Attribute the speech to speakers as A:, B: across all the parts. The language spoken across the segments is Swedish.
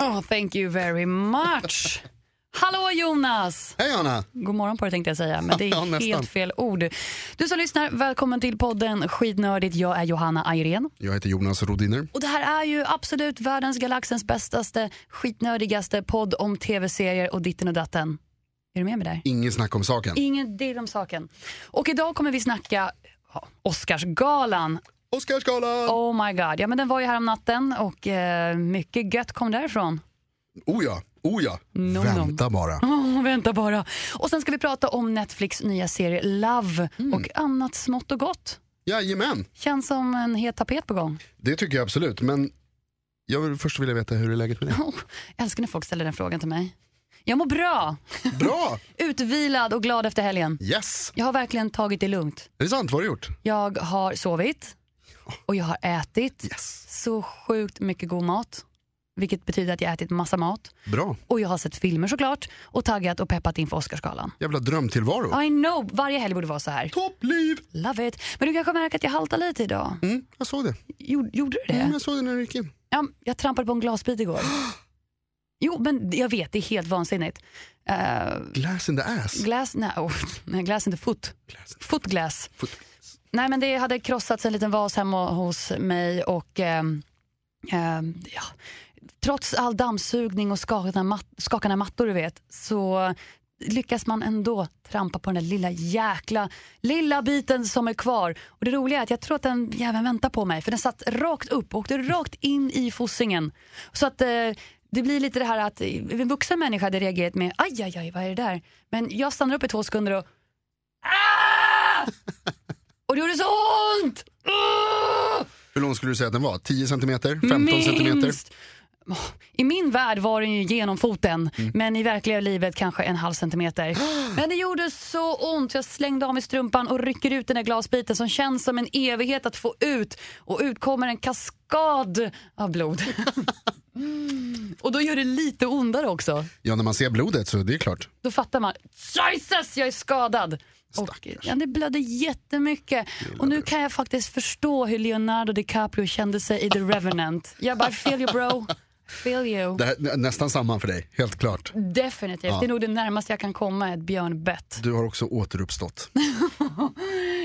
A: Oh, thank you very much. Hallå Jonas!
B: Hej Anna!
A: God morgon på dig tänkte jag säga, men det
B: Ja,
A: är
B: nästan.
A: helt fel ord. Du som lyssnar, välkommen till podden Skidnördigt. Jag är Johanna Ayrén.
B: Jag heter Jonas Rodiner.
A: Och det här är ju absolut världens, galaxens bästaste, skitnördigaste podd om tv-serier och ditten och datten. Är du med mig där?
B: Inget snack om saken.
A: Ingen del om saken. Och idag kommer vi snacka ja, Oscarsgalan
B: Oscarsgalan! Oh.
A: Oh my god. Ja, men den var ju här om natten och eh, mycket gött kom därifrån.
B: ja, oh ja.
A: nom.
B: Vänta bara.
A: Åh, vänta bara. Och sen ska vi prata om Netflix nya serie Love och annat smått och gott.
B: Jajamän,
A: Känns som en het tapet på gång.
B: det tycker jag absolut. Men jag vill först vilja veta hur det är läget med dig.
A: Oh, jag älskar när folk ställer den frågan till mig. Jag mår bra,
B: Bra!
A: utvilad och glad efter helgen.
B: Yes!
A: Jag har verkligen tagit det lugnt.
B: Är det sant? Vad har du gjort?
A: Jag har sovit och jag har ätit
B: Yes.
A: så sjukt mycket god mat. Vilket betyder att jag har ätit massa mat.
B: Bra.
A: Och jag har sett filmer såklart och taggat och peppat inför Oscarsgalan.
B: Jävla drömtillvaro.
A: I know, varje helg borde vara så här.
B: Toppliv!
A: Love it. Men du kanske märker att jag haltar lite idag.
B: Mm, jag såg det.
A: Gjorde, gjorde du
B: Mm,
A: det?
B: jag såg det när du gick in.
A: Ja, jag trampade på en glasbit igår. Jo, men jag vet, det är helt vansinnigt. Eh,
B: Glass in the ass.
A: glass, nej, oh, nej, glass inte foot.
B: Glass.
A: Foot glass.
B: Foot.
A: Nej, men det hade krossats en liten vas hemma hos mig och ehm, ehm, ja, trots all dammsugning och skakande, mat- skakande mattor du vet så lyckas man ändå trampa på den där lilla jäkla lilla biten som är kvar. Och det roliga är att jag tror att den jäveln väntar på mig för den satt rakt upp och åkte rakt in i fossingen. Så att eh, det blir lite det här att eh, en vuxen människa hade reagerat med aj, aj, aj, vad är det där? Men jag stannar upp i två sekunder och och det gjorde så ont! Ugh!
B: Hur lång skulle du säga att den var? 10 centimeter? 15
A: Minst.
B: centimeter?
A: Åh, I min värld var den ju genom foten, men i verkliga livet kanske en halv centimeter. Men det gjorde så ont. Jag slängde av mig strumpan och rycker ut den där glasbiten som känns som en evighet att få ut. Och ut kommer en kaskad av blod. Mm. Och då gör det lite ondare också.
B: Ja, när man ser blodet så det är klart.
A: Då fattar man, Jesus jag är skadad! Och,
B: Stackars.
A: ja, det blödde jättemycket. Och nu kan jag faktiskt förstå hur Leonardo DiCaprio kände sig i The Revenant. Jag bara, feel you bro, feel you.
B: Det här, nästan samma för dig, helt klart.
A: Definitivt, det är nog det närmaste jag kan komma ett björnbett.
B: Du har också återuppstått.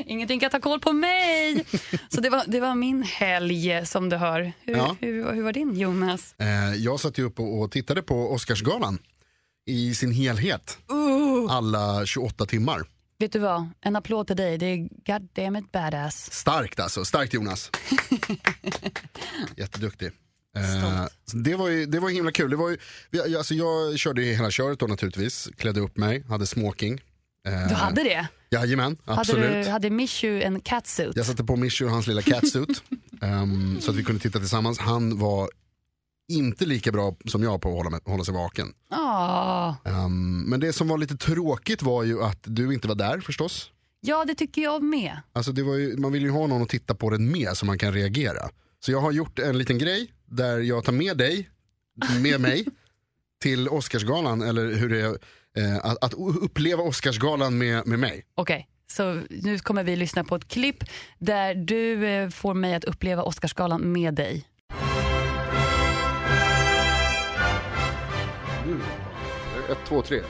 A: Ingenting kan ta koll på mig! Så det var, det var min helg som du hör. Hur,
B: Ja.
A: hur, hur var din Jonas?
B: Eh, jag satt ju upp och och tittade på Oscarsgalan i sin helhet. Alla 28 timmar.
A: Vet du vad, en applåd till dig, det är goddammit badass.
B: Starkt alltså, starkt Jonas. Jätteduktig. Eh,
A: Stolt.
B: så det, var ju, det var himla kul. Det var ju, vi- alltså jag körde ju hela köret då naturligtvis, klädde upp mig, hade smoking. Eh,
A: Du hade det?
B: Jajamän,
A: Hade,
B: absolut.
A: du, hade Mishu en catsuit?
B: Jag satte på Mishu och hans lilla catsuit ehm, så att vi kunde titta tillsammans. Han var inte lika bra som jag på att hålla, hålla sig vaken.
A: Åh.
B: Ehm, men det som var lite tråkigt var ju att du inte var där förstås.
A: Ja, det tycker jag med.
B: Alltså det var ju, man vill ju ha någon att titta på den med så man kan reagera. Så jag har gjort en liten grej där jag tar med dig, med mig, till Oscarsgalan eller hur det är, eh, att, att uppleva Oscarsgalan med, med mig.
A: Okej, så nu kommer vi lyssna på ett klipp där du eh, får mig att uppleva Oscarsgalan med dig.
B: Ett, två, tre.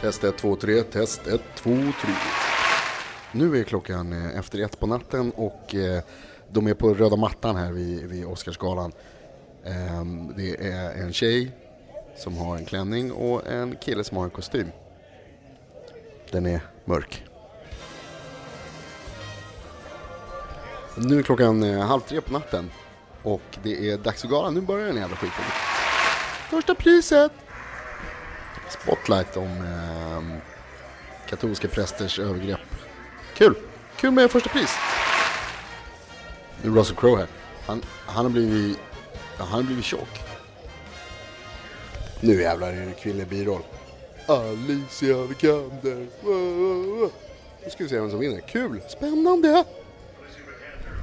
B: Test ett, två, tre. Test ett, två, tre. Nu är klockan eh, efter ett på natten och eh, de är på röda mattan här vid, vid Oscarsgalan. Ehm, Det är en tjej som har en klänning och en kille som har en kostym. Den är mörk. Nu är klockan eh, halv tre på natten och det är dags för galan. Nu börjar den jävla skiten. Första priset! Spotlight om eh, katolska prästers övergrepp. Kul! Kul med första pris. Nu är Russell Crowe här. Han, han har blivit... Ja, han har blivit tjock. Nu jävlar är det kvinnlig biroll. Alicia Vikander. Wow. Nu ska vi se vem som vinner. Kul! Spännande!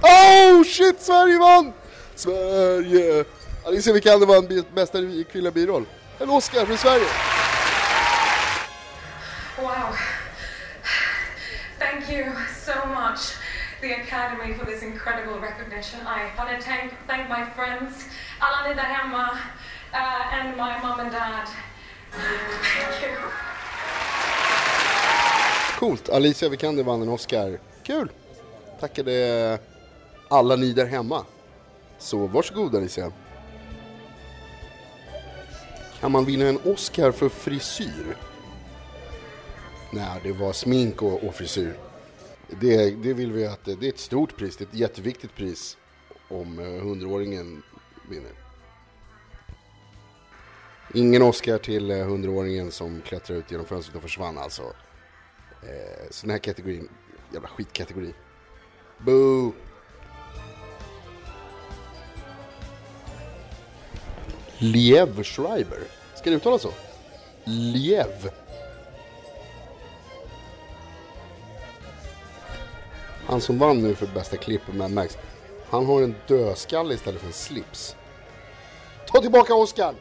B: Oh shit, Sverige vann! Sverige! Alicia Vikander vann bi- bästa kvinnliga biroll. En Oscar för Sverige!
C: Wow. Thank you so much, the Academy, for this incredible recognition. I want to thank, thank my friends, Alan and Dahama, uh, and my mom and dad. Thank you.
B: Coolt. Alicia Vikander vann en Oscar. Kul. Tackade alla ni där hemma. Så varsågod Alicia. Kan man vinna en Oscar för frisyr? Nej, det var smink och, och frisyr. Det, det vill vi att, det är ett stort pris, det är ett jätteviktigt pris om eh, hundraåringen vinner. Ingen Oscar till eh, hundraåringen som klättrar ut genom fönstret och försvann alltså. Eh, så den här kategorin, jävla skitkategori. Boo! Liev Schreiber. Ska det uttalas så? Liev. Han som vann nu för bästa klipp i Mad Max, han har en dödskalle istället för en slips. Ta tillbaka Oscar!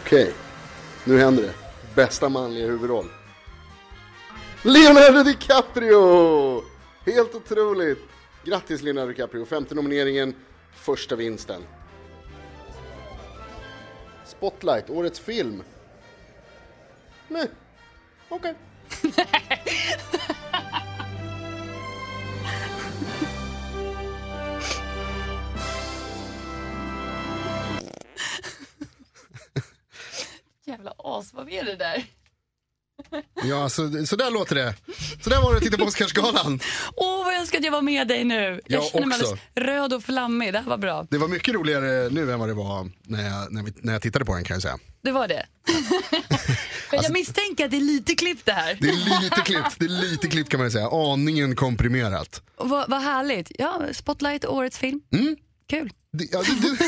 B: Okej, nu händer det. Bästa manliga huvudroll. Leonardo DiCaprio! Helt otroligt! Grattis Leonardo DiCaprio, femte nomineringen, första vinsten. Spotlight, årets film. Nej, okej.
A: Jävla as, vad är det där?
B: Ja, så, så där låter det. Så där var det att titta på Oscarsgalan.
A: Åh, vad jag önskar att jag var med dig nu. Jag
B: Jag
A: känner mig
B: också.
A: alldeles röd och flammig. Det här var bra.
B: Det var mycket roligare nu än vad det var när jag, när vi, när jag tittade på den kan jag säga.
A: Det var det. Men jag misstänker att det är lite klipp det här.
B: Alltså- Det är lite klippt, det är lite klippt kan man ju säga. Aningen komprimerat.
A: Och Vad, vad härligt. Ja, Spotlight, årets film.
B: Mm.
A: Kul.
B: Det, ja, det, det,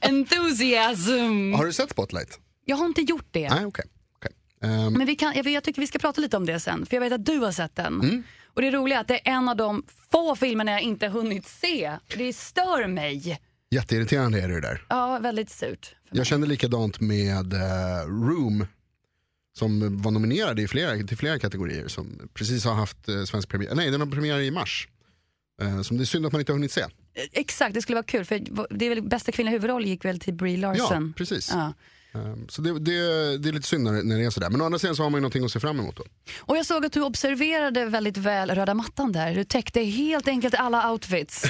A: Enthusiasm.
B: har du sett Spotlight?
A: Jag har inte gjort det.
B: Nej, okej. okej. Ehm,
A: Men vi kan, jag, jag tycker vi ska prata lite om det sen, för jag vet att du har sett den. Och det roliga är att det är en av de få filmerna jag inte hunnit se. Det stör mig.
B: jätteirriterande är det där.
A: Ja, väldigt surt.
B: Jag kände likadant med eh, Room som var nominerad i flera, till flera kategorier som precis har haft eh, svensk premiär. Nej, den har premiär i mars. Eh, som det är synd att man inte har hunnit se.
A: Eh, Exakt, det skulle vara kul, för det är väl, bästa kvinnliga huvudroll gick väl till Brie
B: Ja,
A: Larson.
B: precis.
A: Ja.
B: Ehm, Så det, det, det är lite synd när, när det är sådär. Men å andra sidan så har man ju någonting att se fram emot då.
A: Och jag såg att du observerade väldigt väl röda mattan där. Du täckte helt enkelt alla outfits.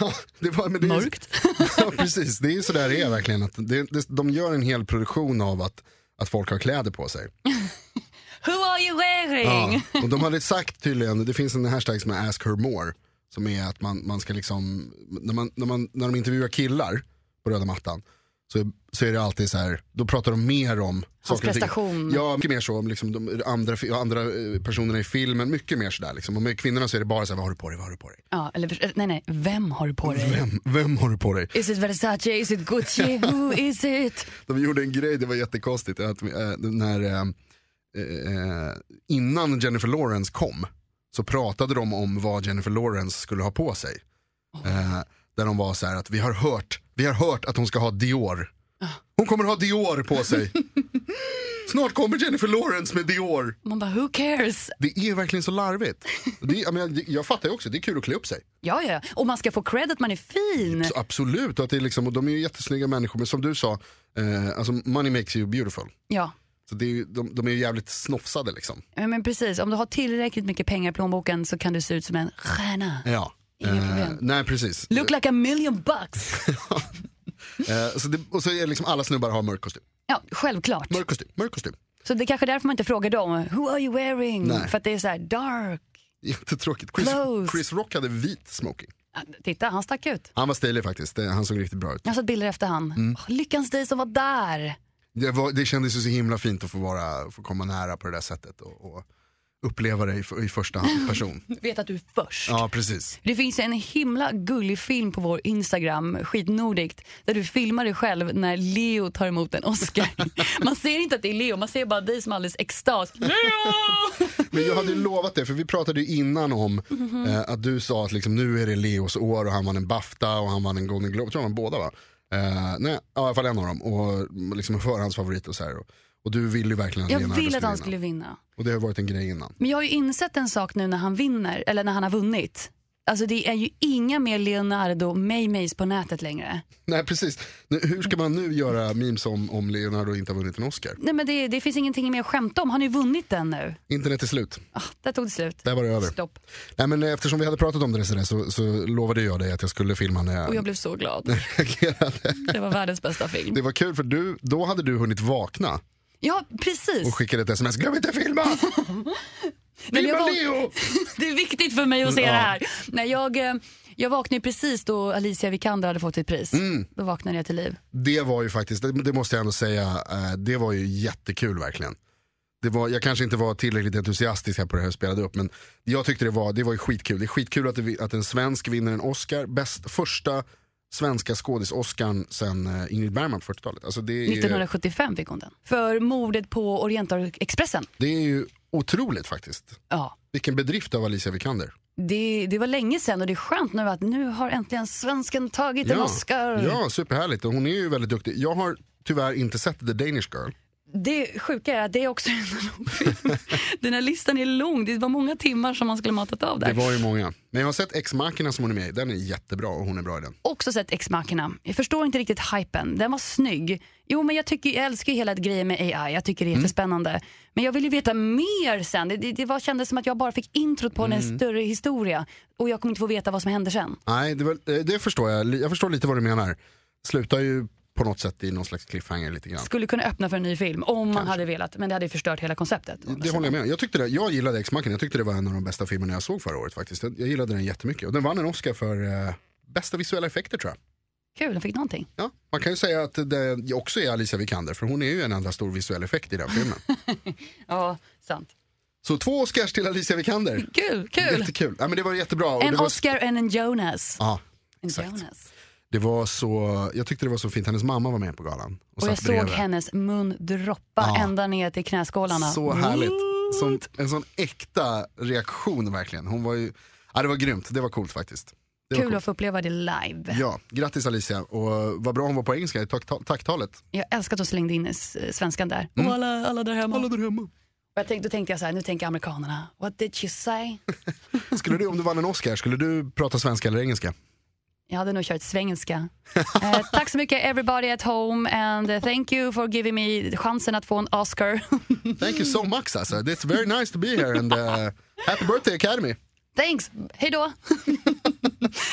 B: Ja, det var, men det är,
A: Mörkt.
B: Ja, precis. Det är ju sådär det är verkligen. Att det, det, de gör en hel produktion av att, att folk har kläder på sig.
A: Who are you wearing?
B: Ja. Och de hade sagt tydligen, det finns en hashtag som är ask her more. Som är att man, man ska liksom, när, man, när, man, när de intervjuar killar på röda mattan så, är- så är det alltid så här, då pratar de mer om saker och ting.
A: prestation.
B: Ja, mycket mer så om liksom de andra, fi- andra eh, personerna i filmen, mycket mer sådär liksom. Och med kvinnorna så är det bara så här, vad har du på dig, vad har du på dig?
A: Ja, eller nej, nej, vem har du på dig?
B: Vem, vem har du på dig?
A: Is it Versace? Is it Gucci? Who is it?
B: De gjorde en grej, det var jättekonstigt. Att, eh, när, eh, eh, innan Jennifer Lawrence kom så pratade de om vad Jennifer Lawrence skulle ha på sig. Eh, där de var så här att vi har hört, vi har hört att hon ska ha Dior. Hon kommer ha Dior på sig. Snart kommer Jennifer Lawrence med Dior.
A: Man bara, who cares?
B: Det är verkligen så larvigt. Det, är- jag, menar, det- jag fattar ju också, det är kul att klä upp sig.
A: Ja, ja. Och man ska få cred att man är fin.
B: Så absolut, och, att det är liksom, och de är ju jättesnygga människor. Men som du sa, eh, alltså, money makes you beautiful.
A: Ja,
B: Så det är ju, de, de är ju jävligt snofsade liksom.
A: Ja, men precis. Om du har tillräckligt mycket pengar i plånboken så kan du se ut som en stjärna.
B: Ja.
A: Inga
B: Eh,
A: problem.
B: nej precis.
A: Look like a million bucks.
B: Eh, så det, och så är det liksom alla snubbar har mörk kostym.
A: Ja, självklart.
B: Mörk kostym, mörk kostym.
A: Så det är kanske är därför man inte frågar dem. Who are you wearing?
B: Nej.
A: För att det är så här dark.
B: Jättetråkigt. Chris,
A: Close.
B: Chris Rock hade vit smoking.
A: Ja, Titta, han stack ut.
B: Han var stilig faktiskt, det, han såg riktigt bra ut.
A: Jag har sett bilder efter han.
B: Mm.
A: Åh, lyckans dig som var där.
B: Det, var, det kändes ju så himla fint att få, vara, få komma nära på det där sättet och, och uppleva det i, f- i första hand, person.
A: Vet att du är först.
B: Ja precis.
A: Det finns en himla gullig film på vår Instagram, skitnordigt, där du filmar dig själv när Leo tar emot en Oscar. Man ser inte att det är Leo, man ser bara dig som alldeles extas.
B: Mm.
A: Leo!
B: Men jag hade ju lovat det, för vi pratade ju innan om eh, att du sa att liksom, nu är det Leos år och han vann en Bafta och han vann en Golden Globe, tror jag han vann båda va? Eh, nej, ja, i alla fall en av dem och liksom en förhandsfavorit och så här. Och, och du ville ju verkligen att
A: Jag
B: Leonardo
A: vill att han
B: vinna.
A: skulle vinna.
B: Och det har varit en grej innan.
A: Men jag har ju insett en sak nu när han vinner, eller när han har vunnit. Alltså det är ju inga mer Leonardo Maymays på nätet längre.
B: Nej precis. Nu, hur ska man nu göra memes om, om Leonardo inte har vunnit en Oscar?
A: Nej men det, det finns ingenting mer att skämta om. Han har ju vunnit den nu.
B: Internet är slut.
A: Ah, där tog det slut.
B: Där var det över.
A: Stopp.
B: Nej, men eh, eftersom vi hade pratat om det så, där, så, så lovade jag dig att jag skulle filma när
A: Och
B: jag
A: jag blev så glad.
B: reagerade.
A: Det var världens bästa film.
B: Det var kul för du, då hade du hunnit vakna
A: Ja,
B: och
A: precis.
B: skickade ett sms. Glöm inte filma!
A: Men
B: Filma
A: jag var-
B: Leo!
A: Det är viktigt för mig att se
B: Mm, Ja.
A: det här. Nej, jag, eh, jag vaknade ju precis då Alicia Vikander hade fått sitt pris.
B: Mm.
A: Då vaknade jag till liv.
B: Det var ju faktiskt, det det måste jag ändå säga, eh, det var ju jättekul verkligen. Det var, jag kanske inte var tillräckligt entusiastisk här på det här och spelade upp men jag tyckte det var, det var ju skitkul. Det är skitkul att, det, vi- att en svensk vinner en Oscar, bäst, första svenska skådis-Oscarn sen eh, Ingrid Bergman på 40-talet. Alltså det, är,
A: 1975 fick hon den. För mordet på Orientalexpressen.
B: det är ju otroligt faktiskt.
A: Ja.
B: Vilken bedrift av Alicia Vikander.
A: Det, det var länge sedan och det är skönt nu att nu har äntligen svensken tagit en Oscar.
B: ja, superhärligt. Och Hon är ju väldigt duktig. Jag har tyvärr inte sett The Danish Girl.
A: Det sjuka är att det är också en lång film. Den här listan är lång. Det var många timmar som man skulle matat av
B: Det
A: där.
B: var ju många. Men jag har sett Ex Machina som hon är med i. Den är jättebra och hon är bra i den.
A: Också sett Ex Machina. Jag förstår inte riktigt hypen. Den var snygg. Jo, men jag, tycker, jag älskar ju hela grejen med AI. Jag tycker det är
B: Mm.
A: jättespännande. Men jag vill ju veta mer sen. Det, det, det var, kändes som att jag bara fick introt på
B: Mm.
A: en större historia. Och jag kommer inte få veta vad som händer sen.
B: Nej, det, var, eh, det förstår jag. Li- Jag förstår lite vad du menar. Slutar ju på något sätt i någon slags cliffhanger lite grann.
A: Skulle kunna öppna för en ny film om man hade velat. Men det hade ju förstört hela konceptet.
B: Det håller jag med om. jag, tyckte det, jag gillade Ex Machina. Jag tyckte det var en av de bästa filmerna jag såg förra året faktiskt. Jag, jag gillade den jättemycket. Och den vann en Oscar för eh, bästa visuella effekter tror jag.
A: Kul, jag fick någonting.
B: Ja, man kan ju säga att det också är Alicia Vikander för hon är ju en enda stor visuell effekt i den filmen.
A: Ja, sant.
B: Så två Oscars till Alicia Vikander.
A: Kul, kul.
B: Jättekul. Ja, men det var jättebra. Och
A: En
B: det var...
A: Oscar och en Jonas.
B: Ja,
A: En
B: exakt.
A: Jonas.
B: Det var så, jag tyckte det var så fint, hennes mamma var med på galan.
A: Och jag
B: satt
A: såg
B: bredvid.
A: hennes mun droppa
B: Ja.
A: ända ner till knäskålarna.
B: Så härligt. Som, en sån äkta reaktion verkligen. Hon var ju, ja, det var grymt, det var coolt faktiskt. Det
A: Kul
B: var
A: att få uppleva det live.
B: Ja, grattis Alicia och vad bra hon var på engelska i tack- tacktalet.
A: Jag älskar att de slängde in eh, svenskan där. Mm. Och alla, alla där hemma.
B: där hemma.
A: Och jag tänkte, då tänkte jag så här, nu tänker amerikanerna, what did you say?
B: Skulle du, om du vann en Oscar, skulle du prata svenska eller engelska?
A: Jag hade nog kört svengelska. eh, tack så mycket everybody at home and eh, thank you for giving me chansen att få en Oscar.
B: Thank you so much alltså. It's very nice to be here and uh, happy birthday Academy.
A: Thanks, hej då!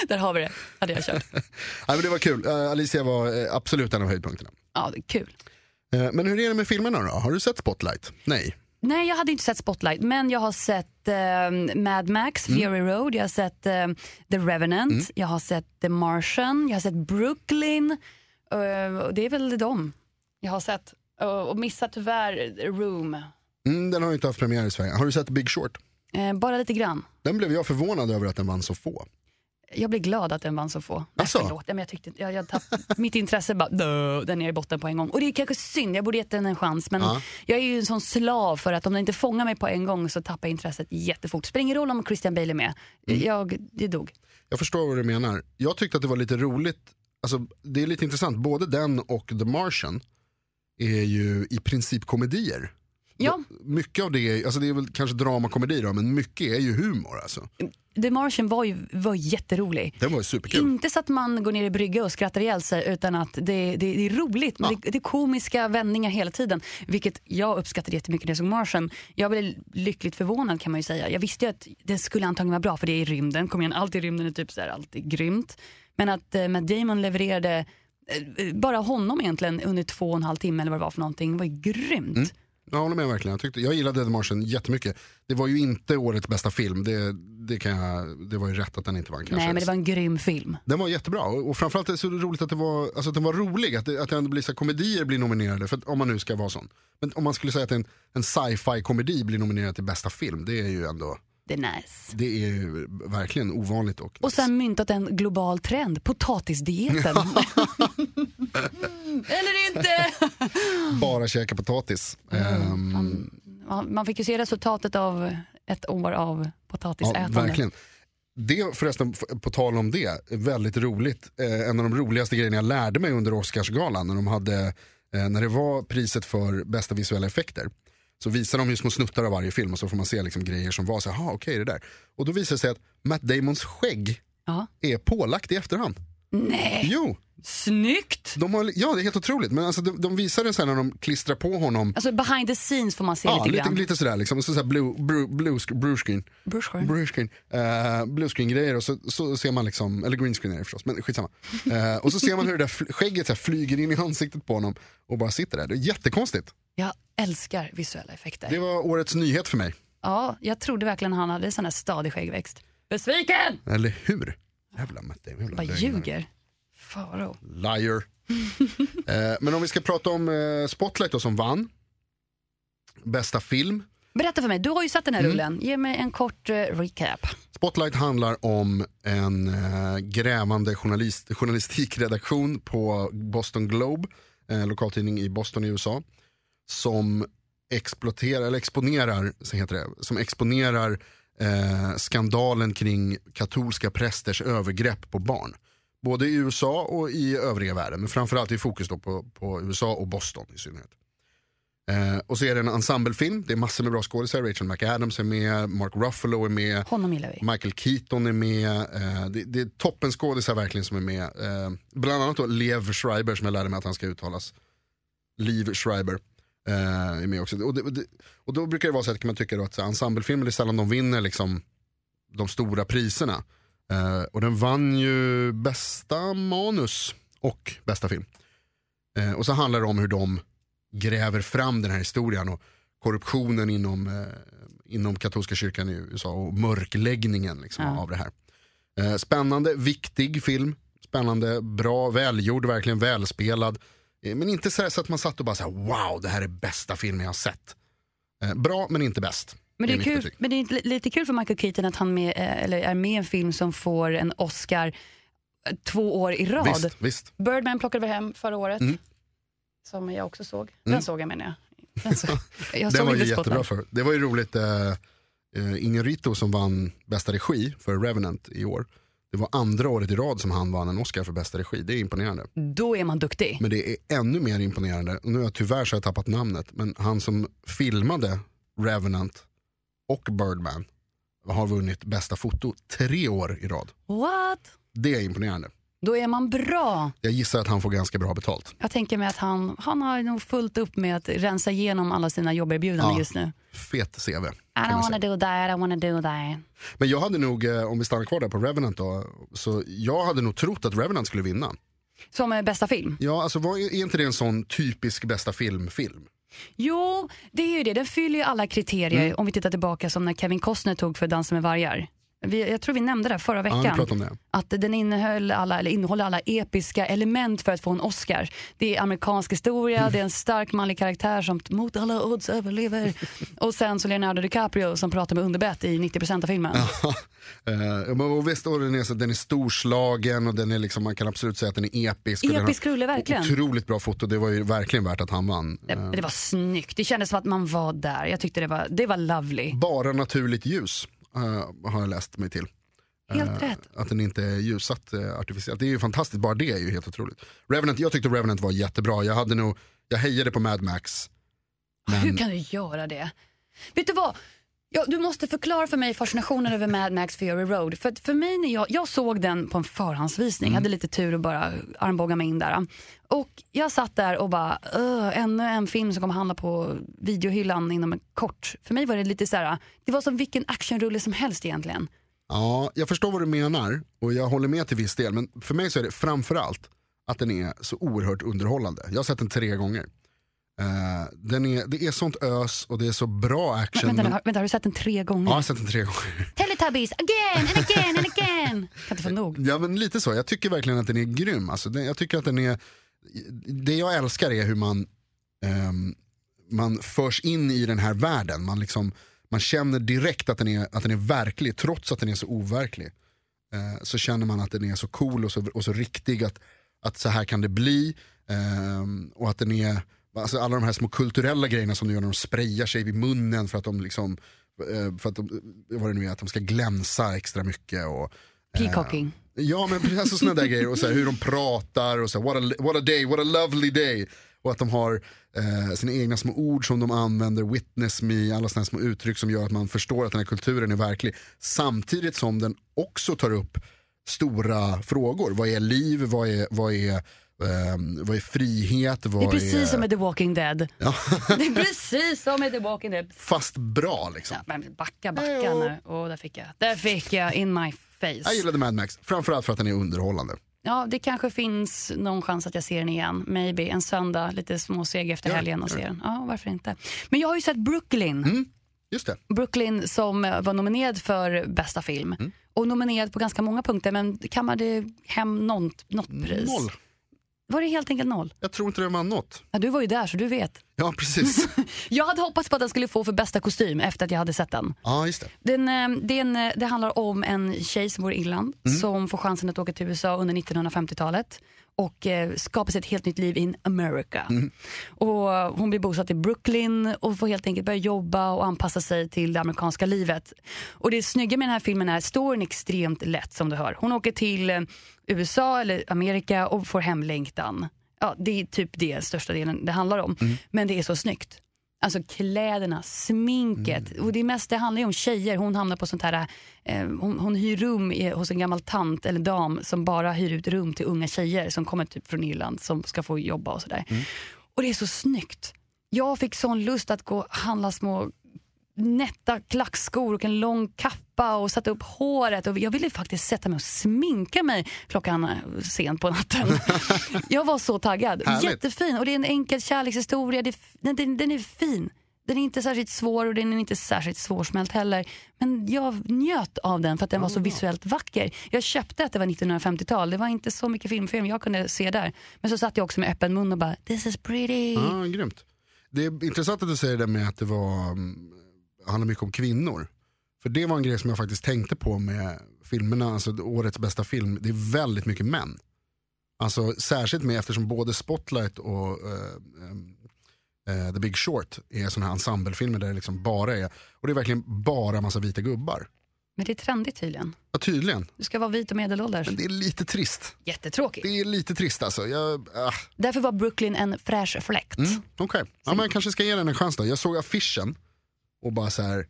A: där har vi det, hade jag kört.
B: Ja, men det var kul, Eh, Alicia var eh, absolut en av höjdpunkterna.
A: Ja, det är kul.
B: Eh, men hur är det med filmerna då? Har du sett Spotlight? Nej.
A: Nej, jag hade inte sett Spotlight, men jag har sett eh, Mad Max, Fury Road, jag har sett eh, The Revenant, jag har sett The Martian, jag har sett Brooklyn. Eh, och det är väl dem jag har sett. Och- och missat tyvärr Room,
B: Mm, den har ju inte haft premiär i Sverige. Har du sett Big Short?
A: Eh, bara lite grann.
B: Den blev jag förvånad över att den vann så få.
A: Jag blev glad att den vann så få. Nej,
B: Asså?
A: förlåt, Nej, men jag tyckte, jag, jag tapp, mitt intresse bara, "Dö", den är i botten på en gång. Och det är kanske synd, jag borde gett den en chans. Men
B: Ja.
A: jag är ju en sån slav för att om den inte fångar mig på en gång så tappar jag intresset jättefort. Spelar ingen roll om Christian Bale är med. Jag, det dog.
B: Jag förstår vad du menar. Jag tyckte att det var lite roligt, alltså, det är lite intressant, både den och The Martian är ju i princip komedier.
A: Ja,
B: Mycket av det är, alltså det är väl kanske dramakomedi då, men mycket är ju humor alltså.
A: The Martian var ju var jätterolig.
B: Den var ju superkul.
A: Inte så att man går ner i brygga och skrattar ihjäl sig utan att det, det, det är roligt. Men det, det är komiska vändningar hela tiden. Vilket jag uppskattade jättemycket när jag såg Martian. Jag blev lyckligt förvånad kan man ju säga. Jag visste ju att den skulle antagligen vara bra för det är i rymden. Kom igen, allt i rymden är typ så här, allt är grymt. Men att eh, Matt Damon levererade eh, bara honom egentligen under två och en halv timme eller vad det var för någonting var ju grymt.
B: Jag håller med verkligen. Jag, tyckte, jag gillade The Martian jättemycket. Det var ju inte årets bästa film, det, det, kan jag, det var ju rätt att den inte vann kanske.
A: Nej men det var en grym film.
B: Den var jättebra och och framförallt är det så roligt att, det var, alltså att den var rolig, att, det, att det ändå blir så här, komedier blir nominerade, för att, om man nu ska vara sån. Men om man skulle säga att en, en sci-fi komedi blir nominerad till bästa film, det är ju ändå,
A: Det är nice.
B: det är ju verkligen ovanligt. Och,
A: Och sen myntat en global trend, potatisdieten. Eller inte!
B: Bara käka potatis. Ehm,
A: Man, man fick ju se resultatet av ett år av
B: ja,
A: potatisätande.
B: verkligen. Det förresten, f- på tal om det, är väldigt roligt. Eh, en av de roligaste grejerna jag lärde mig under Oscarsgalan, när de hade eh, när det var priset för bästa visuella effekter, Så visar de ju små snuttar av varje film och så får man se liksom grejer som var så här, "Aha, okej det där. Och då visar det sig att Matt Damons skägg
A: Ja.
B: är pålagt i efterhand.
A: Nej,
B: Jo,
A: snyggt!
B: de har, ja det är helt otroligt. Men alltså, de, de visar det sen när de klistrar på honom.
A: Alltså behind the scenes får man se
B: Ja,
A: lite
B: lite,
A: grann.
B: lite sådär liksom. Så, så här blue, blue, blue, sc- blue screen.
A: Brushworm.
B: Blue screen, eh, blue screen grejer och så, så ser man liksom, eller green screen är det förstås, men skitsamma. Eh, och så ser man hur det där fl- skägget så här flyger in i ansiktet på honom och bara sitter där. Det är jättekonstigt.
A: Jag älskar visuella effekter.
B: Det var årets nyhet för mig.
A: Ja, jag trodde verkligen han hade sån här stadig skäggväxt. Besviken!
B: Eller hur? Jävla Matt Damon. jävla
A: Bara
B: lögnare.
A: ljuger. Faro.
B: Liar. eh, men om vi ska prata om eh, Spotlight då, som vann. Bästa film.
A: Berätta för mig, du har ju sett den här
B: Mm.
A: rullen. Ge mig en kort eh, recap.
B: Spotlight handlar om en eh, grävande journalist, journalistikredaktion på Boston Globe, eh, lokaltidning i Boston i USA, som exploaterar, eller exponerar, så heter det, som exponerar eh, skandalen kring katolska prästers övergrepp på barn. Både i USA och i övriga världen, men framförallt i fokus då på, på USA och Boston i synnerhet. Eh, och så är det en ensemblefilm, det är massor med bra skådisar, Rachel McAdams är med, Mark Ruffalo är med,
A: Honom gillar vi.
B: Michael Keaton är med. Eh, det, det är toppen skådisar verkligen som är med. Eh, bland annat då Lev Schreiber som jag lärde mig att han ska uttalas. Liv Schreiber eh, är med också. Och, det, och, det, och då brukar det vara så att kan man tycka då att så här, ensemblefilmer det är sällan de vinner liksom, de stora priserna. Eh, och den vann ju bästa manus och bästa film. Eh, och så handlar det om hur de gräver fram den här historien och korruptionen inom, eh, inom katolska kyrkan i USA och mörkläggningen liksom,
A: Ja.
B: av det här. Eh, spännande, viktig film. Spännande, bra, välgjord, verkligen välspelad. Eh, men inte så, här, så att man satt och bara så här, wow, det här är bästa filmen jag har sett. Eh, bra, men inte bäst.
A: Men det är,
B: mitt
A: kul,
B: betyg.
A: men det är li- lite kul för Michael Keaton att han med, eh, eller är med i en film som får en Oscar eh, två år i rad.
B: Visst, visst.
A: Birdman plockade vi hem förra året.
B: Mm.
A: Som jag också såg. Den såg jag menar jag. Den, såg, jag
B: Den
A: såg
B: var ju
A: inte
B: jättebra
A: Spotlight.
B: för. Det var ju roligt, eh, eh, Inarritu som vann bästa regi för Revenant i år. Det var andra året i rad som han vann en Oscar för bästa regi. Det är imponerande.
A: Då är man duktig.
B: Men det är ännu mer imponerande, och nu har jag tyvärr så har jag tappat namnet, men han som filmade Revenant och Birdman har vunnit bästa foto tre år i rad.
A: What?
B: Det är imponerande.
A: Då är man bra.
B: Jag gissar att han får ganska bra betalt.
A: Jag tänker mig att han, han har nog fullt upp med att rensa igenom alla sina jobberbjudanden
B: Ja.
A: just nu.
B: Fet CV.
A: I
B: kan man
A: don't
B: säga.
A: wanna do that, I wanna do that.
B: Men jag hade nog, eh, om vi stannar kvar där på Revenant då, så jag hade nog trott att Revenant skulle vinna.
A: Som eh, bästa film.
B: Ja, alltså vad, är inte det en sån typisk bästa film-film?
A: Jo, det är ju det. Den fyller ju alla kriterier
B: Mm.
A: om vi tittar tillbaka som när Kevin Costner tog för Dansen med vargar. Vi, jag tror vi nämnde det förra
B: Ja, vi
A: veckan.
B: pratade om det.
A: att den innehöll alla, eller innehåller alla episka element för att få en Oscar. Det är amerikansk historia,
B: Mm.
A: det är en stark manlig karaktär som t- mot alla odds överlever. Och sen så Leonardo DiCaprio som pratar med underbett i 90% av filmen.
B: Eh, men och visst, och den, är, så, den är storslagen och den är liksom, man kan absolut säga att den är episk. och den har
A: Episk rulle, verkligen.
B: Otroligt bra foto, det var ju verkligen värt att han vann. Eh,
A: Det, det var snyggt, det kändes som att man var där. Jag tyckte det var, det var lovely.
B: Bara naturligt ljus eh, har jag läst mig till. Eh,
A: Helt rätt.
B: Att den inte är ljussatt eh, artificiellt. Det är ju fantastiskt, bara det är ju helt otroligt. Revenant, jag tyckte Revenant var jättebra, jag, hade nog, jag hejade på Mad Max.
A: Hur kan du göra det? Vet du vad? Ja, du måste förklara för mig fascinationen över Mad Max Fury Road. För, att för mig när jag, jag såg den på en förhandsvisning, hade lite tur och bara armbåga mig in där. Och jag satt där och bara, "Öh, ännu en film som kommer handla på videohyllan inom en kort. För mig var det lite så här, det var som vilken actionrulle som helst egentligen.
B: Ja, jag förstår vad du menar och jag håller med till viss del. Men för mig så är det framförallt att den är så oerhört underhållande. Jag har sett den tre gånger. Eh, den är, det är sånt ös och det är så bra action.
A: Men, vänta,
B: men-
A: nu, har, vänta, har du sett den tre
B: Ja,
A: gånger?
B: jag har sett den tre gånger.
A: Teletubbies, again and again and again. Kan inte få nog.
B: Ja, men lite så. Jag tycker verkligen att den är grym. Alltså, den, jag tycker att den är, det jag älskar är hur man, ehm, man förs in i den här världen. Man, liksom, man känner direkt att den, är, att den är verklig, trots att den är så overklig. Eh, så känner man att den är så cool och så, och så riktig, att, att så här kan det bli. Ehm, och att den är, alltså alla de här små kulturella grejerna som de gör när de sprayar sig i munnen för att de liksom, eh, för att de, vad det nu är, att de ska glänsa extra mycket. Och,
A: Peacocking.
B: alltså Ja men precis sådana där grejer och så här, hur de pratar och så här, what, a, what a day, what a lovely day. Och att de har eh, sina egna små ord som de använder, witness me, alla sådana små uttryck som gör att man förstår att den här kulturen är verklig. Samtidigt som den också tar upp stora frågor. Vad är liv? Vad är, vad är, ehm, vad är frihet? Vad
A: Det är precis som i The Walking Dead.
B: eh. Ja,
A: Det är precis som i The Walking Dead.
B: fast bra liksom.
A: Ja, men backa, backa nu. Åh, där fick jag. Där fick jag in my face.
B: Jag gillade Mad Max, framförallt för att den är underhållande.
A: Ja, det kanske finns någon chans att jag ser den igen. Maybe en söndag, lite småseg efter
B: Ja,
A: helgen och
B: ja.
A: ser den. Ja, varför inte? Men jag har ju sett Brooklyn.
B: Mm. Just det.
A: Brooklyn som eh, var nominerad för bästa film.
B: Mm.
A: Och nominerad på ganska många punkter men kammade hem något, något pris.
B: Noll.
A: Var det helt enkelt noll?
B: Jag tror inte den vann något.
A: Ja, du var ju där så du vet.
B: Ja, precis.
A: Jag hade hoppats på att den skulle få för bästa kostym efter att jag hade sett den.
B: ja, just det.
A: Den, eh, det, är en, eh, det handlar om en tjej som bor i Irland som får chansen att åka till USA under 1950-talet och eh, skapar sig ett helt nytt liv in America. Och eh, hon blir bosatt i Brooklyn och får helt enkelt börja jobba och anpassa sig till det amerikanska livet. Och det snygga med den här filmen är att storyn är extremt lätt som du hör. Hon åker till eh, USA eller Amerika och får hemlängtan. Ja, det är typ det största delen det handlar om. Men det är så snyggt. Alltså kläderna, sminket. Och det, är mest, det handlar ju om tjejer. Hon hamnar på sånt här... Eh, hon, hon hyr rum i, hos en gammal tant eller dam som bara hyr ut rum till unga tjejer som kommer typ från Irland som ska få jobba och sådär. Och det är så snyggt. Jag fick sån lust att gå och handla små nätta klackskor och en lång kappa och satte upp håret. Och jag ville faktiskt sätta mig och sminka mig klockan eh, sent på natten. jag var så taggad.
B: Härligt.
A: Jättefin. Och det är en enkel kärlekshistoria. Det, är f- den, den, den är fin. Den är inte särskilt svår och den är inte särskilt svårsmält heller. Men jag njöt av den för att den var så
B: Oh.
A: visuellt vacker. Jag köpte att det var 1950-tal. Det var inte så mycket filmfilm jag kunde se där. Men så satt jag också med öppen mun och bara “this is pretty”.
B: Ja, grymt. Det är intressant att du säger det med att det var, mm, handlar mycket om kvinnor. För det var en grej som jag faktiskt tänkte på med filmerna, alltså årets bästa film, det är väldigt mycket män. Alltså särskilt med eftersom både Spotlight och eh, eh, The Big Short är sådana här ensemblefilmer där det liksom bara är, och det är verkligen bara massa vita gubbar.
A: Men det är trendigt tydligen.
B: Ja tydligen,
A: Du ska vara vit och medelålders.
B: men det är lite trist.
A: Jättetråkigt.
B: Det är lite trist alltså. Jag, ah.
A: Därför var Brooklyn en fräsch fläkt.
B: Mm, Okej, ja, men jag kanske ska ge den en chans då. Jag såg affischen och bara så här.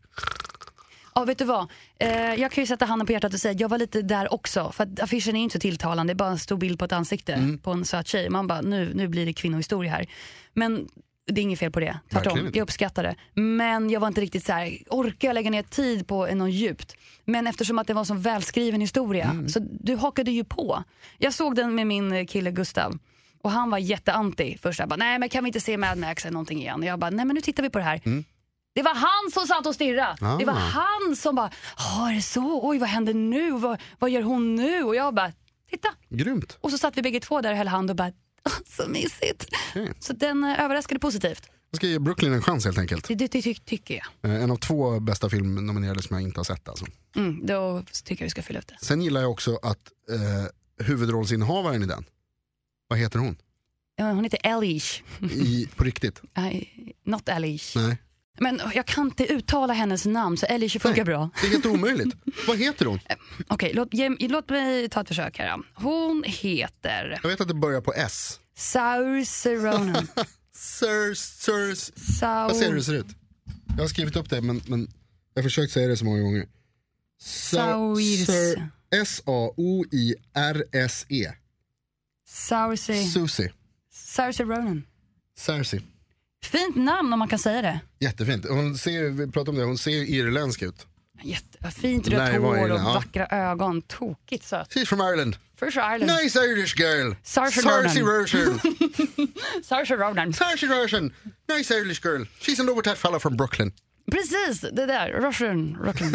A: Ja, vet du vad? Eh, jag kan ju sätta handen på hjärtat och säga jag var lite där också. För att affischen är inte så tilltalande, det är bara en stor bild på ett ansikte
B: Mm.
A: på en söt tjej. Man bara, nu, nu blir det kvinnohistoria här. Men det är inget fel på det,
B: Verkligen
A: tvärtom.
B: inte.
A: Jag uppskattar det. Men jag var inte riktigt så här, orkar jag lägga ner tid på något djupt? Men eftersom att det var en så välskriven historia,
B: Mm.
A: så du hakade ju på. Jag såg den med min eh, kille Gustav. Och han var jätteanti först. Jag bara, nej men kan vi inte se Mad Max eller någonting igen? Och jag bara, nej men nu tittar vi på det här. Det var han som satt och stirrade.
B: Ah.
A: Det var han som bara, ja är det så? Oj vad händer nu? Vad, vad gör hon nu? Och jag bara, titta.
B: Grymt.
A: Och så satt vi bägge två där och höll hand och bara, "Ah, så mysigt.
B: Okej.
A: Så den eh, överraskade positivt.
B: Jag ska ge Brooklyn en chans helt enkelt.
A: Det, det, det ty- tycker jag.
B: Eh, En av två bästa filmnominerade som jag inte har sett. Alltså.
A: Mm, då tycker jag vi ska fylla ut det.
B: Sen gillar jag också att eh, huvudrollsinnehavaren i den, vad heter hon?
A: Ja, Hon heter Elish.
B: I, på riktigt?
A: Nej, Not Elish.
B: Nej.
A: Men oh, jag kan inte uttala hennes namn så Elish funkar
B: Nej.
A: bra.
B: Det är helt omöjligt. vad heter hon?
A: Okej, låt, ge- låt mig ta ett försök här. då. Hon heter
B: Jag vet att det börjar på S.
A: Saur Seronen.
B: Sir, sirs.
A: Saur...
B: Vad ser du hur det ser ut? Jag har skrivit upp det men, men jag har försökt säga det så många gånger. Sa-
A: Sauirs.
B: Sir- S-A-O-I-R-S-E.
A: Saoirse
B: E. Susie.
A: Saoirse Ronan.
B: Cersei.
A: Fint namn om man kan säga det.
B: Jättefint. Hon ser, ju- vi pratade om det, hon ser ju irländsk ut.
A: Jätte, fint rött
B: Nej, vad är
A: hår
B: det?
A: och
B: Ja.
A: vackra ögon. Tokigt söt.
B: She's from Ireland.
A: First Ireland.
B: Nice Irish girl.
A: Saoirse
B: Saoirse
A: Ronan.
B: Ronan.
A: Saoirse Ronan.
B: Saoirse Ronan. Nice Irish girl. She's in love with that fella from Brooklyn.
A: Precis, det där. Russian. Russian.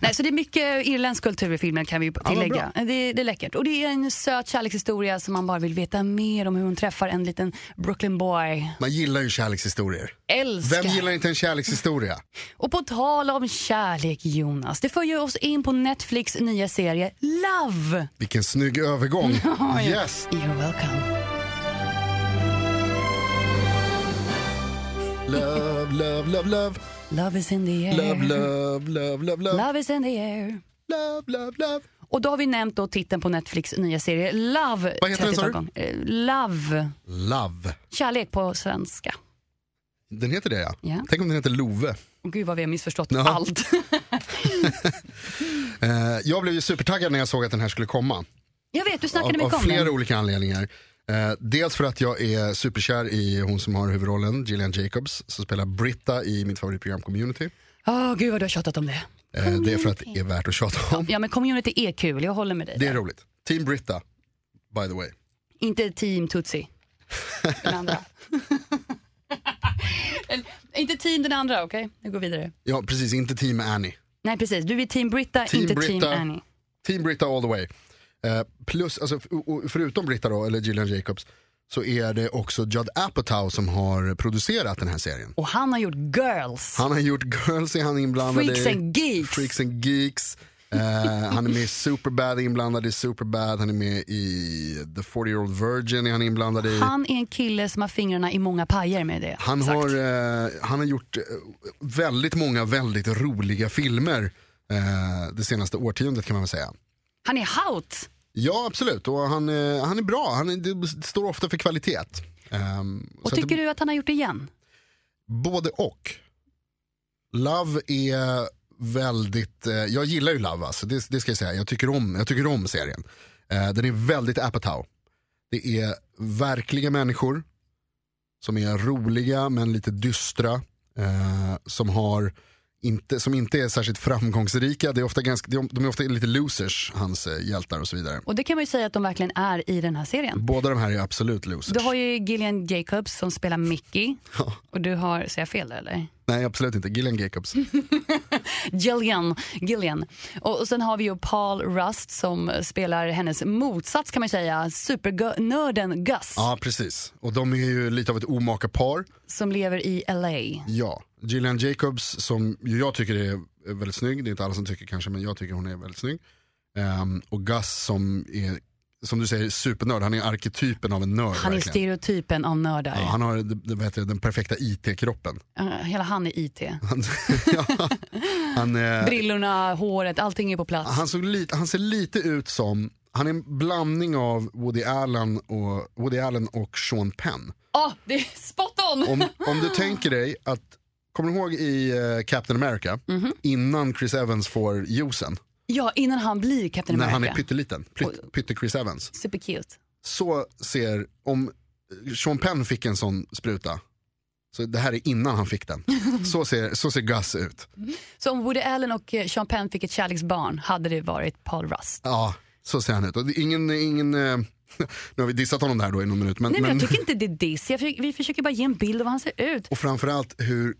A: Nej, så det är mycket irländsk kultur i filmen kan vi ju
B: vad
A: tillägga. det, det är läckert. Och det är en söt kärlekshistoria som man bara vill veta mer om hur hon träffar en liten Brooklyn boy.
B: Man gillar ju kärlekshistorier.
A: Älskar.
B: Vem gillar inte en kärlekshistoria?
A: Och på tal om kärlek Jonas, det för ju oss in på Netflix nya serie Love.
B: Vilken snygg övergång. Yes.
A: You're welcome.
B: Love, love, love, love.
A: Love is in the air.
B: Love, love, love, love, love.
A: Love is in the air.
B: Love, love, love.
A: Och då har vi nämnt då titeln på Netflix nya serie Love.
B: Vad heter
A: 30
B: den, sa du?
A: gång. Eh, Love.
B: Love.
A: Kärlek på svenska.
B: Den heter det ja.
A: Ja.
B: Tänk om den heter Love.
A: Och gud vad vi har missförstått
B: Ja.
A: allt.
B: Eh, jag blev ju supertaggad när jag såg att den här skulle komma.
A: Jag vet, du snackade
B: Av, av
A: mycket om
B: flera
A: den.
B: olika anledningar. Eh, dels för att jag är superkär i hon som har huvudrollen, Gillian Jacobs, som spelar Britta i mitt favoritprogram Community.
A: Åh gud vad du har tjatat om det.
B: Eh, det är för att det är värt att tjata om.
A: Ja men community är kul, jag håller med dig.
B: Det är
A: där.
B: roligt. Team Britta, by the way.
A: Inte team Tutsi. Den andra. Eller, inte team den andra, okej? Vi går vidare.
B: Ja, precis, inte Team Annie.
A: Nej precis, du är team Britta,
B: Team
A: inte
B: Britta.
A: team Annie.
B: Team Britta all the way. Eh, plus, alltså, f- o- o- förutom Britta då, eller Gillian Jacobs, så är det också Judd Apatow som har producerat den här serien.
A: Och han har gjort Girls.
B: Han har gjort Girls, är han inblandad
A: Freaks
B: i.
A: and Geeks.
B: Freaks and Geeks. Eh, han är med i Superbad, är inblandad i Superbad. Han är med i The 40 Year Old Virgin, är han inblandad i.
A: Han är en kille som har fingrarna i många pajer med det.
B: Han
A: sagt.
B: har, eh, han har gjort eh, väldigt många väldigt roliga filmer eh, det senaste årtiondet kan man väl säga.
A: han är haut.
B: Ja, absolut. Och han, eh, han är bra. Han är, det står ofta för kvalitet. Ehm,
A: Och
B: så att
A: tycker
B: det,
A: du att han har gjort det igen?
B: Både och. Love är väldigt... Eh, jag gillar ju Love, alltså, det, det ska jag säga. Jag tycker om, jag tycker om serien. Eh, den är väldigt Apatow. Det är verkliga människor som är roliga men lite dystra. Eh, som, har inte, som inte är särskilt framgångsrika. Det är ofta ganska, de, de är ofta lite losers, hans eh, hjältar och så vidare.
A: Och det kan man ju säga att de verkligen är i den här serien.
B: Båda de här är absolut losers.
A: Du har ju Gillian Jacobs som spelar Mickey.
B: Ja.
A: Och du har, säger jag fel där, eller?
B: Nej, absolut inte. Gillian Jacobs.
A: Gillian. Gillian. Och, och sen har vi ju Paul Rust som spelar hennes motsats kan man ju säga, supernörden Gus.
B: ja, precis. Och de är ju lite av ett omaka par.
A: Som lever i LA.
B: Ja. Gillian Jacobs, som ju jag tycker är väldigt snygg. Det är inte alla som tycker kanske, men jag tycker hon är väldigt snygg. Ehm, och Gus som är, som du säger, supernörd. Han är arketypen av en nörd.
A: Han är
B: verkligen.
A: stereotypen av nördar.
B: Ja, han har det, det, vad heter det, den perfekta IT-kroppen.
A: Eh, Hela han är IT.
B: Han, ja, han, eh,
A: Brillorna, håret, allting är på plats.
B: han, såg lite, han ser lite ut som, han är en blandning av Woody Allen och, Woody Allen och Sean Penn.
A: Åh, det är spot on!
B: om, om du tänker dig att, kommer du ihåg i eh, Captain America,
A: Mhm.
B: innan Chris Evans får juicen,
A: Ja, innan han blir Captain
B: när
A: America.
B: han är pytteliten, pytt- pytte-Chris Evans,
A: Supercute.
B: så ser, om Sean Penn fick en sån spruta, så det här är innan han fick den, så ser, så ser Gus ut.
A: Så om Woody Allen och eh, Sean Penn fick ett kärleksbarn hade det varit Paul Rust.
B: Ja, så ser han ut. Och det är ingen, ingen, eh, nu har vi dissat honom där då i någon minut, men,
A: Nej, men
B: men
A: jag tycker inte det är diss. Jag försöker, vi försöker bara ge en bild av hur han ser ut.
B: och framförallt hur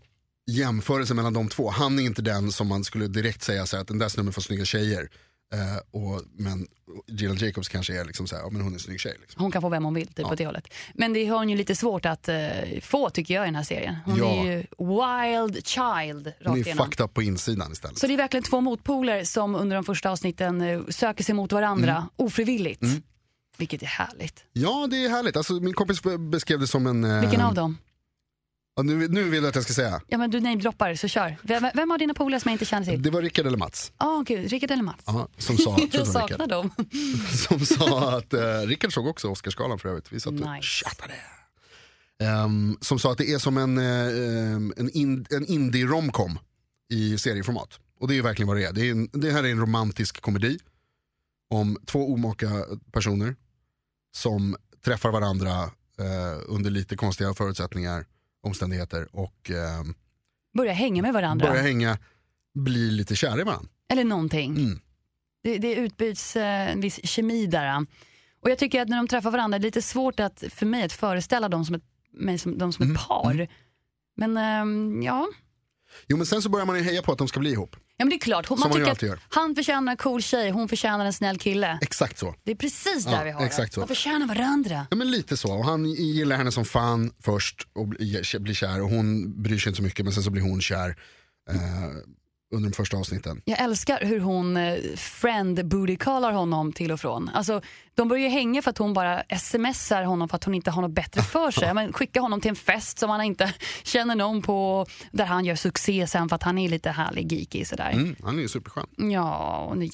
B: jämförelsen mellan de två, han är inte den som man skulle direkt säga så här, att den där snubben får snygga tjejer. Eh, och, men Gillian Jacobs kanske är liksom så här, ja, men hon är en snygg tjej. Liksom.
A: Hon kan få vem hon vill, typ åt det hållet. Men det har hon ju lite svårt att eh, få tycker jag i den här serien. Hon
B: Ja.
A: är ju wild child
B: Hon är
A: rakt igenom.
B: fucked up på insidan istället.
A: Så det är verkligen två motpoler som under de första avsnitten eh, söker sig mot varandra
B: Mm.
A: ofrivilligt. Vilket är härligt.
B: Ja, det är härligt. Alltså, min kompis be- beskrev det som en... eh,
A: Vilken av dem?
B: ja, nu, nu vill jag att jag ska säga.
A: Ja men du namedroppar, så kör. Vem, vem har dina polare som jag inte känner till?
B: Det var Rickard eller Mats
A: Åh gud, Rickard eller Mats?
B: ja, som, sa, tror
A: jag
B: jag det var
A: saknar
B: Rickard,
A: dem.
B: som sa att... Eh, Rickard såg också Oscarsgalan för övrigt. Vi satt och
A: Nice.
B: tjatade. Ehm, som sa att det är som en, eh, ehm, en, in, en indie romcom i serieformat. Och det är ju verkligen vad det är. Det, är en, det här är en romantisk komedi om två omaka personer som träffar varandra eh, under lite konstiga förutsättningar, omständigheter och ehm,
A: Börja hänga med varandra.
B: börjar hänga, blir lite kära i varandra.
A: Eller någonting.
B: Mm.
A: Det, det utbyts eh, en viss kemi där. Och jag tycker att när de träffar varandra, det är lite svårt att, för mig att föreställa dem som ett, mig som, dem som ett
B: Mm.
A: par. Men ehm, ja.
B: Jo men sen så börjar man ju heja på att de ska bli ihop.
A: ja, men det är klart. Hon,
B: Som man ju
A: tycker
B: alltid
A: att
B: gör.
A: han förtjänar en cool tjej, hon förtjänar en snäll kille.
B: Exakt så.
A: Det är precis där
B: Ja,
A: vi har
B: exakt
A: det.
B: så.
A: De förtjänar varandra.
B: Ja men lite så. Och han gillar henne som fan först och bli- blir kär och hon bryr sig inte så mycket men sen så blir hon kär. Eh, under de första avsnitten.
A: Jag älskar hur hon eh, friend booty callar honom till och från. Alltså, de börjar ju hänga för att hon bara smsar honom för att hon inte har något bättre för sig. Ja, Men skicka honom till en fest som han inte känner någon på där han gör succé sen för att han är lite härlig geeky sådär.
B: Mm, han är ju superskön.
A: Ja, hon är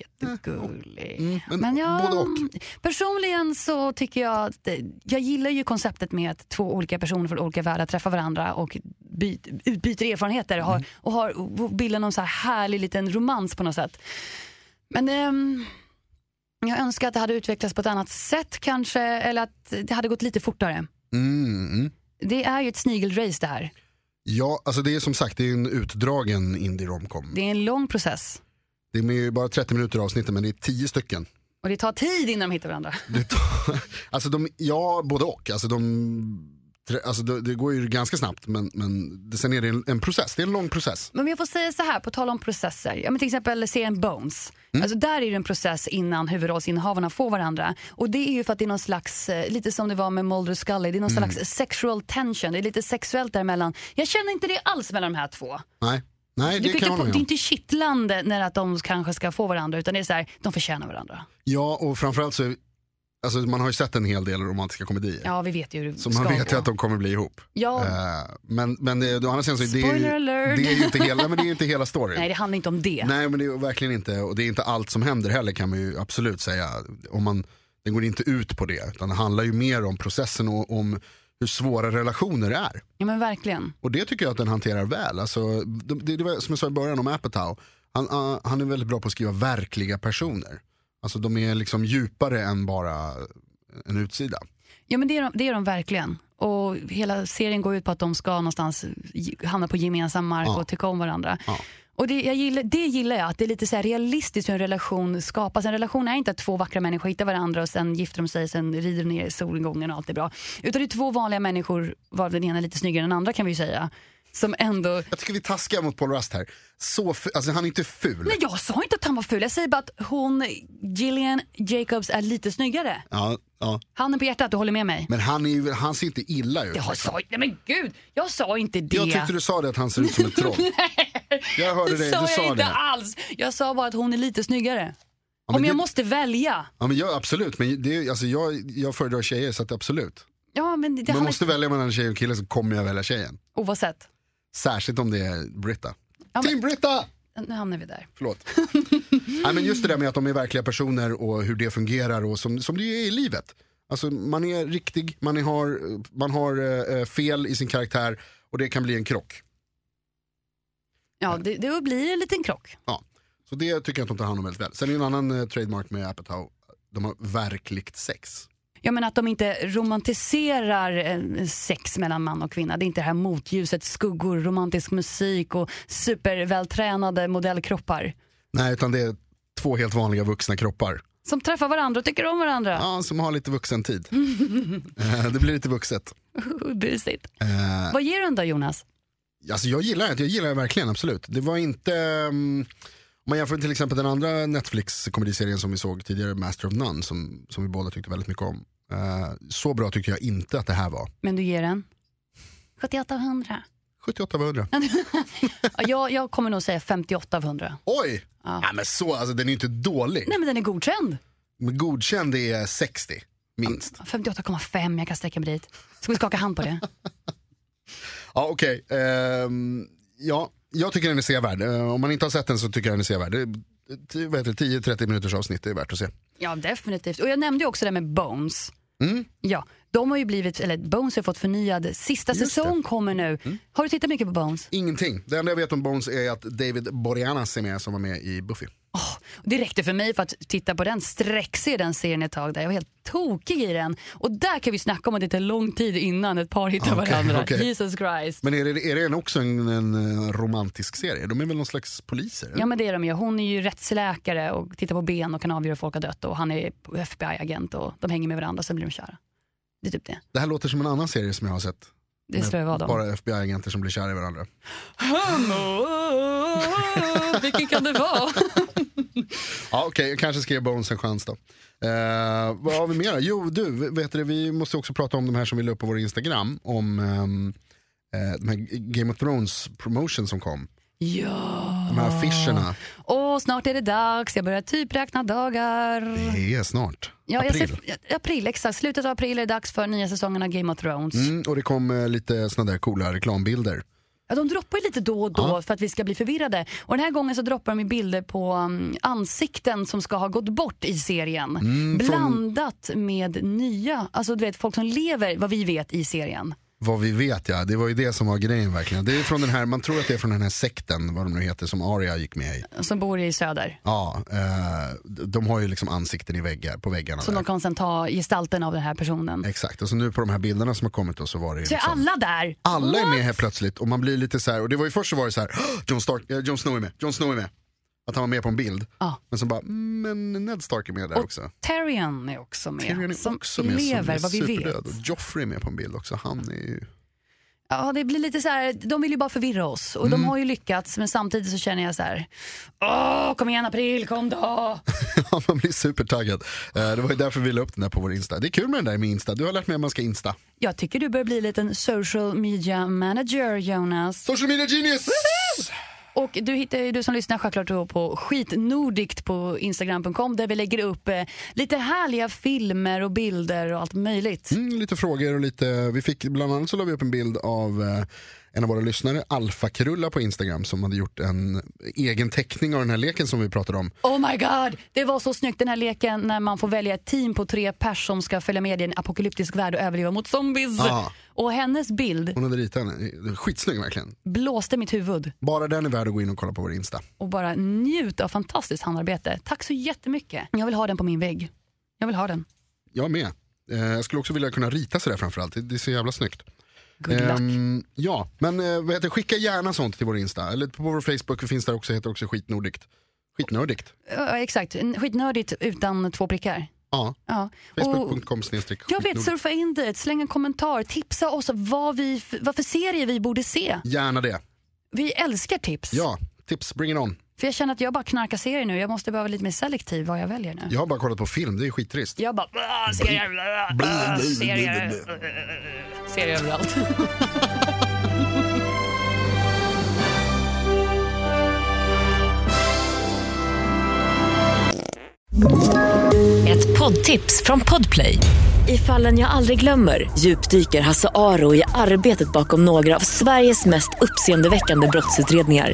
A: jättegullig.
B: men
A: jag,
B: Mm, både och.
A: Personligen så tycker jag att det- jag gillar ju konceptet med att två olika personer från olika världar träffar varandra och byt, utbyter erfarenheter och
B: Mm.
A: har, och har bilden någon så här härlig liten romans på något sätt. Men ehm, jag önskar att det hade utvecklats på ett annat sätt kanske eller att det hade gått lite fortare.
B: Mm, mm.
A: Det är ju ett snigelrace det här.
B: Ja, alltså det är som sagt det är en utdragen indie romcom.
A: Det är en lång process
B: Det är ju bara 30 minuter i avsnittet men det är 10 stycken.
A: och det tar tid innan de hittar varandra.
B: Det tar, alltså de, ja, både och. Alltså de, alltså det, det går ju ganska snabbt men, men det, sen är det en, en process, det är en lång process.
A: Men om jag får säga så här, på tal om processer. Ja, men till exempel serien Bones.
B: Mm.
A: Alltså där är det en process innan huvudrollsinnehavarna får varandra. Och det är ju för att det är någon slags, eh, lite som det var med Mulder och Scully, det är någon
B: Mm.
A: slags sexual tension. Det är lite sexuellt däremellan. Jag känner inte det alls mellan de här två.
B: Nej, nej
A: Det,
B: det
A: är
B: kan jag
A: inte,
B: hålla
A: på,
B: med
A: det är
B: om.
A: inte kittlande när att de kanske ska få varandra utan det är så här, de förtjänar varandra.
B: Ja, och framförallt så, är- alltså man har ju sett en hel del romantiska komedier.
A: Ja, vi vet ju hur det
B: Så
A: ska
B: man vet
A: gå.
B: ju att de kommer bli ihop.
A: Ja.
B: Eh, men men det, å andra sidan så är det, ju-
A: Spoiler alert.
B: det är ju inte hela, men det är ju inte hela storyn.
A: Nej, det handlar inte om det.
B: Nej men det är verkligen inte, och det är inte allt som händer heller kan man ju absolut säga. Om man, den går inte ut på det, utan det handlar ju mer om processen och om hur svåra relationer är.
A: Ja, men verkligen.
B: Och det tycker jag att den hanterar väl. Alltså, det, det var som jag sa i början om Apatow, han, ah, han är väldigt bra på att skriva verkliga personer. Alltså de är liksom djupare än bara en utsida.
A: Ja men det är, de, det är de verkligen. Och hela serien går ut på att de ska någonstans ge- hamna på gemensam mark och tycka om varandra. Och det, jag gillar, det gillar jag, att det är lite så här realistiskt hur en relation skapas. En relation är inte att två vackra människor hittar varandra och sen gifter de sig, sen rider de ner i solgången och allt är bra. Utan det är två vanliga människor, varav den ena är lite snyggare än den andra kan vi ju säga. Som ändå...
B: Jag tycker vi taskar mot Paul Rust här. Så fu- alltså han är inte ful.
A: Nej jag sa inte att han var ful, jag säger bara att hon, Gillian Jacobs, är lite snyggare.
B: Ja, ja.
A: Handen på hjärtat, du håller med mig?
B: Men han, är ju, han ser inte illa ut.
A: Jag sa, nej men gud, jag sa inte det.
B: Jag tyckte du sa det att han ser ut som ett troll. Jag hörde dig,
A: Det
B: du
A: sa jag
B: sa
A: inte
B: det.
A: alls. Jag sa bara att hon är lite snyggare.
B: Ja,
A: Om
B: men
A: jag
B: det-
A: måste välja.
B: Ja, men jag, absolut, men det, är- alltså, jag, jag föredrar tjejer så att absolut.
A: Ja, men det
B: Man
A: handlar
B: måste
A: inte...
B: välja mellan tjej och kille så kommer jag välja tjejen.
A: Oavsett.
B: Särskilt om det är Britta.
A: Ja, men-
B: Team Britta!
A: Nu hamnar vi där.
B: Förlåt. Nej, men just det där med att de är verkliga personer och hur det fungerar och som, som det är i livet. Alltså, man är riktig, man är- har, man har eh, fel i sin karaktär och det kan bli en krock.
A: Ja, det, det blir en liten krock.
B: Ja. Så det tycker jag att de tar hand om väldigt väl. Sen är det en annan eh, trademark med Apatow, de har verkligt sex.
A: Jag menar att de inte romantiserar eh, sex mellan man och kvinna. Det är inte det här motljuset, skuggor, romantisk musik och supervältränade modellkroppar.
B: Nej, utan det är två helt vanliga vuxna kroppar.
A: Som träffar varandra och tycker om varandra.
B: Ja, som har lite vuxen tid. Eh, det blir lite vuxet.
A: Busigt.
B: Eh,
A: Vad ger du den då Jonas?
B: alltså jag gillar det, jag gillar det verkligen, absolut. Det var inte... Um, om man jämför med till exempel den andra Netflix-komediserien som vi såg tidigare, Master of None, som, som vi båda tyckte väldigt mycket om. Eh, så bra tyckte jag inte att det här var.
A: Men du ger den? 78 av 100.
B: 78 av 100.
A: Ja, jag, jag kommer nog säga 58 av 100.
B: Oj! Nej, men så, alltså, den är ju inte dålig.
A: Nej men den är godkänd.
B: Men godkänd är 60, minst.
A: 58,5, jag kan sträcka mig dit. Ska vi skaka hand på det?
B: Ja, okej. Ehm, ja, jag tycker den är sevärd. Eh, om man inte har sett den så tycker jag den är sevärd. Det är, t- vad heter det, 10-30 minuters avsnitt, det är värt att se.
A: Ja, definitivt. Och jag nämnde ju också det med Bones.
B: Mm.
A: Ja, de har ju blivit, eller Bones har fått förnyad, sista säsong kommer nu.
B: Mm.
A: Har du tittat mycket på Bones?
B: Ingenting. Det enda jag vet om Bones är att David Boreanaz är med som var med i Buffy.
A: Det räckte för mig för att titta på den, sträckse den serien ett tag där. Jag var helt tokig i den. Och där kan vi snacka om att det tar lång tid innan ett par hittar
B: Ah, Okej,
A: varandra.
B: okej.
A: Jesus Christ.
B: Men är det, är det också en, en eh, romantisk serie? De är väl någon slags poliser?
A: Ja men det är de ju. Hon är ju rättsläkare och tittar på ben och kan avgöra hur folk har dött och han är FBI-agent och de hänger med varandra sen blir de kära. Det är typ det.
B: Det här låter som en annan serie som jag har sett.
A: Det slövar dem.
B: Bara FBI-agenter som blir kära i varandra.
A: Vilken kan det vara?
B: Ja, Okej, jag kanske ska ge Bones en chans då. Eh, vad har vi mer? då? Jo, du, vet du, vi måste också prata om de här som vi la upp på vår Instagram. Om ehm, eh, de här Game of Thrones promotion som kom.
A: Ja.
B: De
A: Ah.
B: här affischerna.
A: Och snart är det dags, jag börjar typ räkna dagar.
B: Det är snart.
A: Ja, jag
B: April.
A: ser, ja, april, exakt. Slutet av april är det dags för nya säsongen av Game of Thrones.
B: Mm, och det kom eh, lite såna där coola reklambilder.
A: Ja, de droppar ju lite då och då för att vi ska bli förvirrade. Och den här gången så droppar de ju bilder på um, ansikten som ska ha gått bort i serien.
B: Mm,
A: Blandat med nya, alltså du vet folk som lever vad vi vet i serien.
B: Vad vi vet ja, det var ju det som var grejen verkligen. Det är från den här, man tror att det är från den här sekten, vad de nu heter, som Aria gick med i.
A: Som bor i söder.
B: Ja, eh, de har ju liksom ansikten i väggar, på väggarna.
A: Som
B: där.
A: de kan sen ta gestalten av den här personen.
B: Exakt, och så nu på de här bilderna som har kommit då så var det ju
A: Så är
B: liksom,
A: alla där?
B: alla är med helt plötsligt och man blir lite så här, och det var ju först så var det så här, "Åh, Jon Stark, eh, Jon Snow är med, Jon Snow är med. Att han var med på en bild.
A: Ja.
B: Men så bara, "Mm, men Ned Stark är med där
A: Och
B: också.
A: Tyrion är också med.
B: Tyrion är
A: som
B: också med,
A: lever
B: som är
A: vad vi
B: superdöd.
A: vet.
B: Och Joffrey är med på en bild också, han är ju...
A: Ja, det blir lite så här, de vill ju bara förvirra oss och
B: Mm.
A: de har ju lyckats men samtidigt så känner jag så här, åh kom igen april, kom då!
B: Ja, man blir supertaggad. Eh, Det var ju därför vi la upp den där på vår Insta. Det är kul med den där med Insta. Du har lärt mig att man ska Insta.
A: Jag tycker du börjar bli en liten social media manager Jonas.
B: Social media genius!
A: Och du hittar ju du som lyssnar självklart då på skitnordikt på instagram.com där vi lägger upp eh, lite härliga filmer och bilder och allt möjligt.
B: Mm, lite frågor och lite... Vi fick, bland annat så la vi upp en bild av eh, en av våra lyssnare, Alfa Krulla på Instagram, som hade gjort en egen teckning av den här leken som vi pratade om.
A: Oh my god! Det var så snyggt den här leken när man får välja ett team på tre pers som ska följa med i en apokalyptisk värld och överleva mot zombies.
B: Ja.
A: Och hennes bild
B: Hon hade ritat den. Skitsnygg verkligen.
A: blåste mitt huvud
B: Bara den är värd att gå in och kolla på vår Insta.
A: och bara njut av fantastiskt handarbete. Tack så jättemycket. Jag vill ha den på min vägg. Jag vill ha den.
B: Jag med. Eh, Jag skulle också vilja kunna rita sådär framförallt. Det det är så jävla snyggt.
A: Good luck.
B: Ehm, ja, men eh, vad heter, det? skicka gärna sånt till vår Insta. Eller på vår Facebook, vi finns där också, heter också skitnordigt. Skitnördigt.
A: Ja, exakt. Skitnördigt utan två prickar.
B: Ja,
A: Ja. Och
B: facebook.com snedstreck
A: Oh. jag vet,
B: skitnordigt.
A: surfa in dit, släng en kommentar, tipsa oss vad, vi, vad för serier vi borde se.
B: Gärna det.
A: Vi älskar tips.
B: Ja, tips, bring it on.
A: För jag känner att jag bara knarkar serier nu, jag måste behöva lite mer selektiv vad jag väljer nu.
B: Jag har bara kollat på film, det är skittrist.
A: Jag bara, "Ah, serier, ah, ah, serier, ah, serier överallt.
D: Ett poddtips från Podplay. I fallen jag aldrig glömmer djupdyker Hasse Aro i arbetet bakom några av Sveriges mest uppseendeväckande brottsutredningar.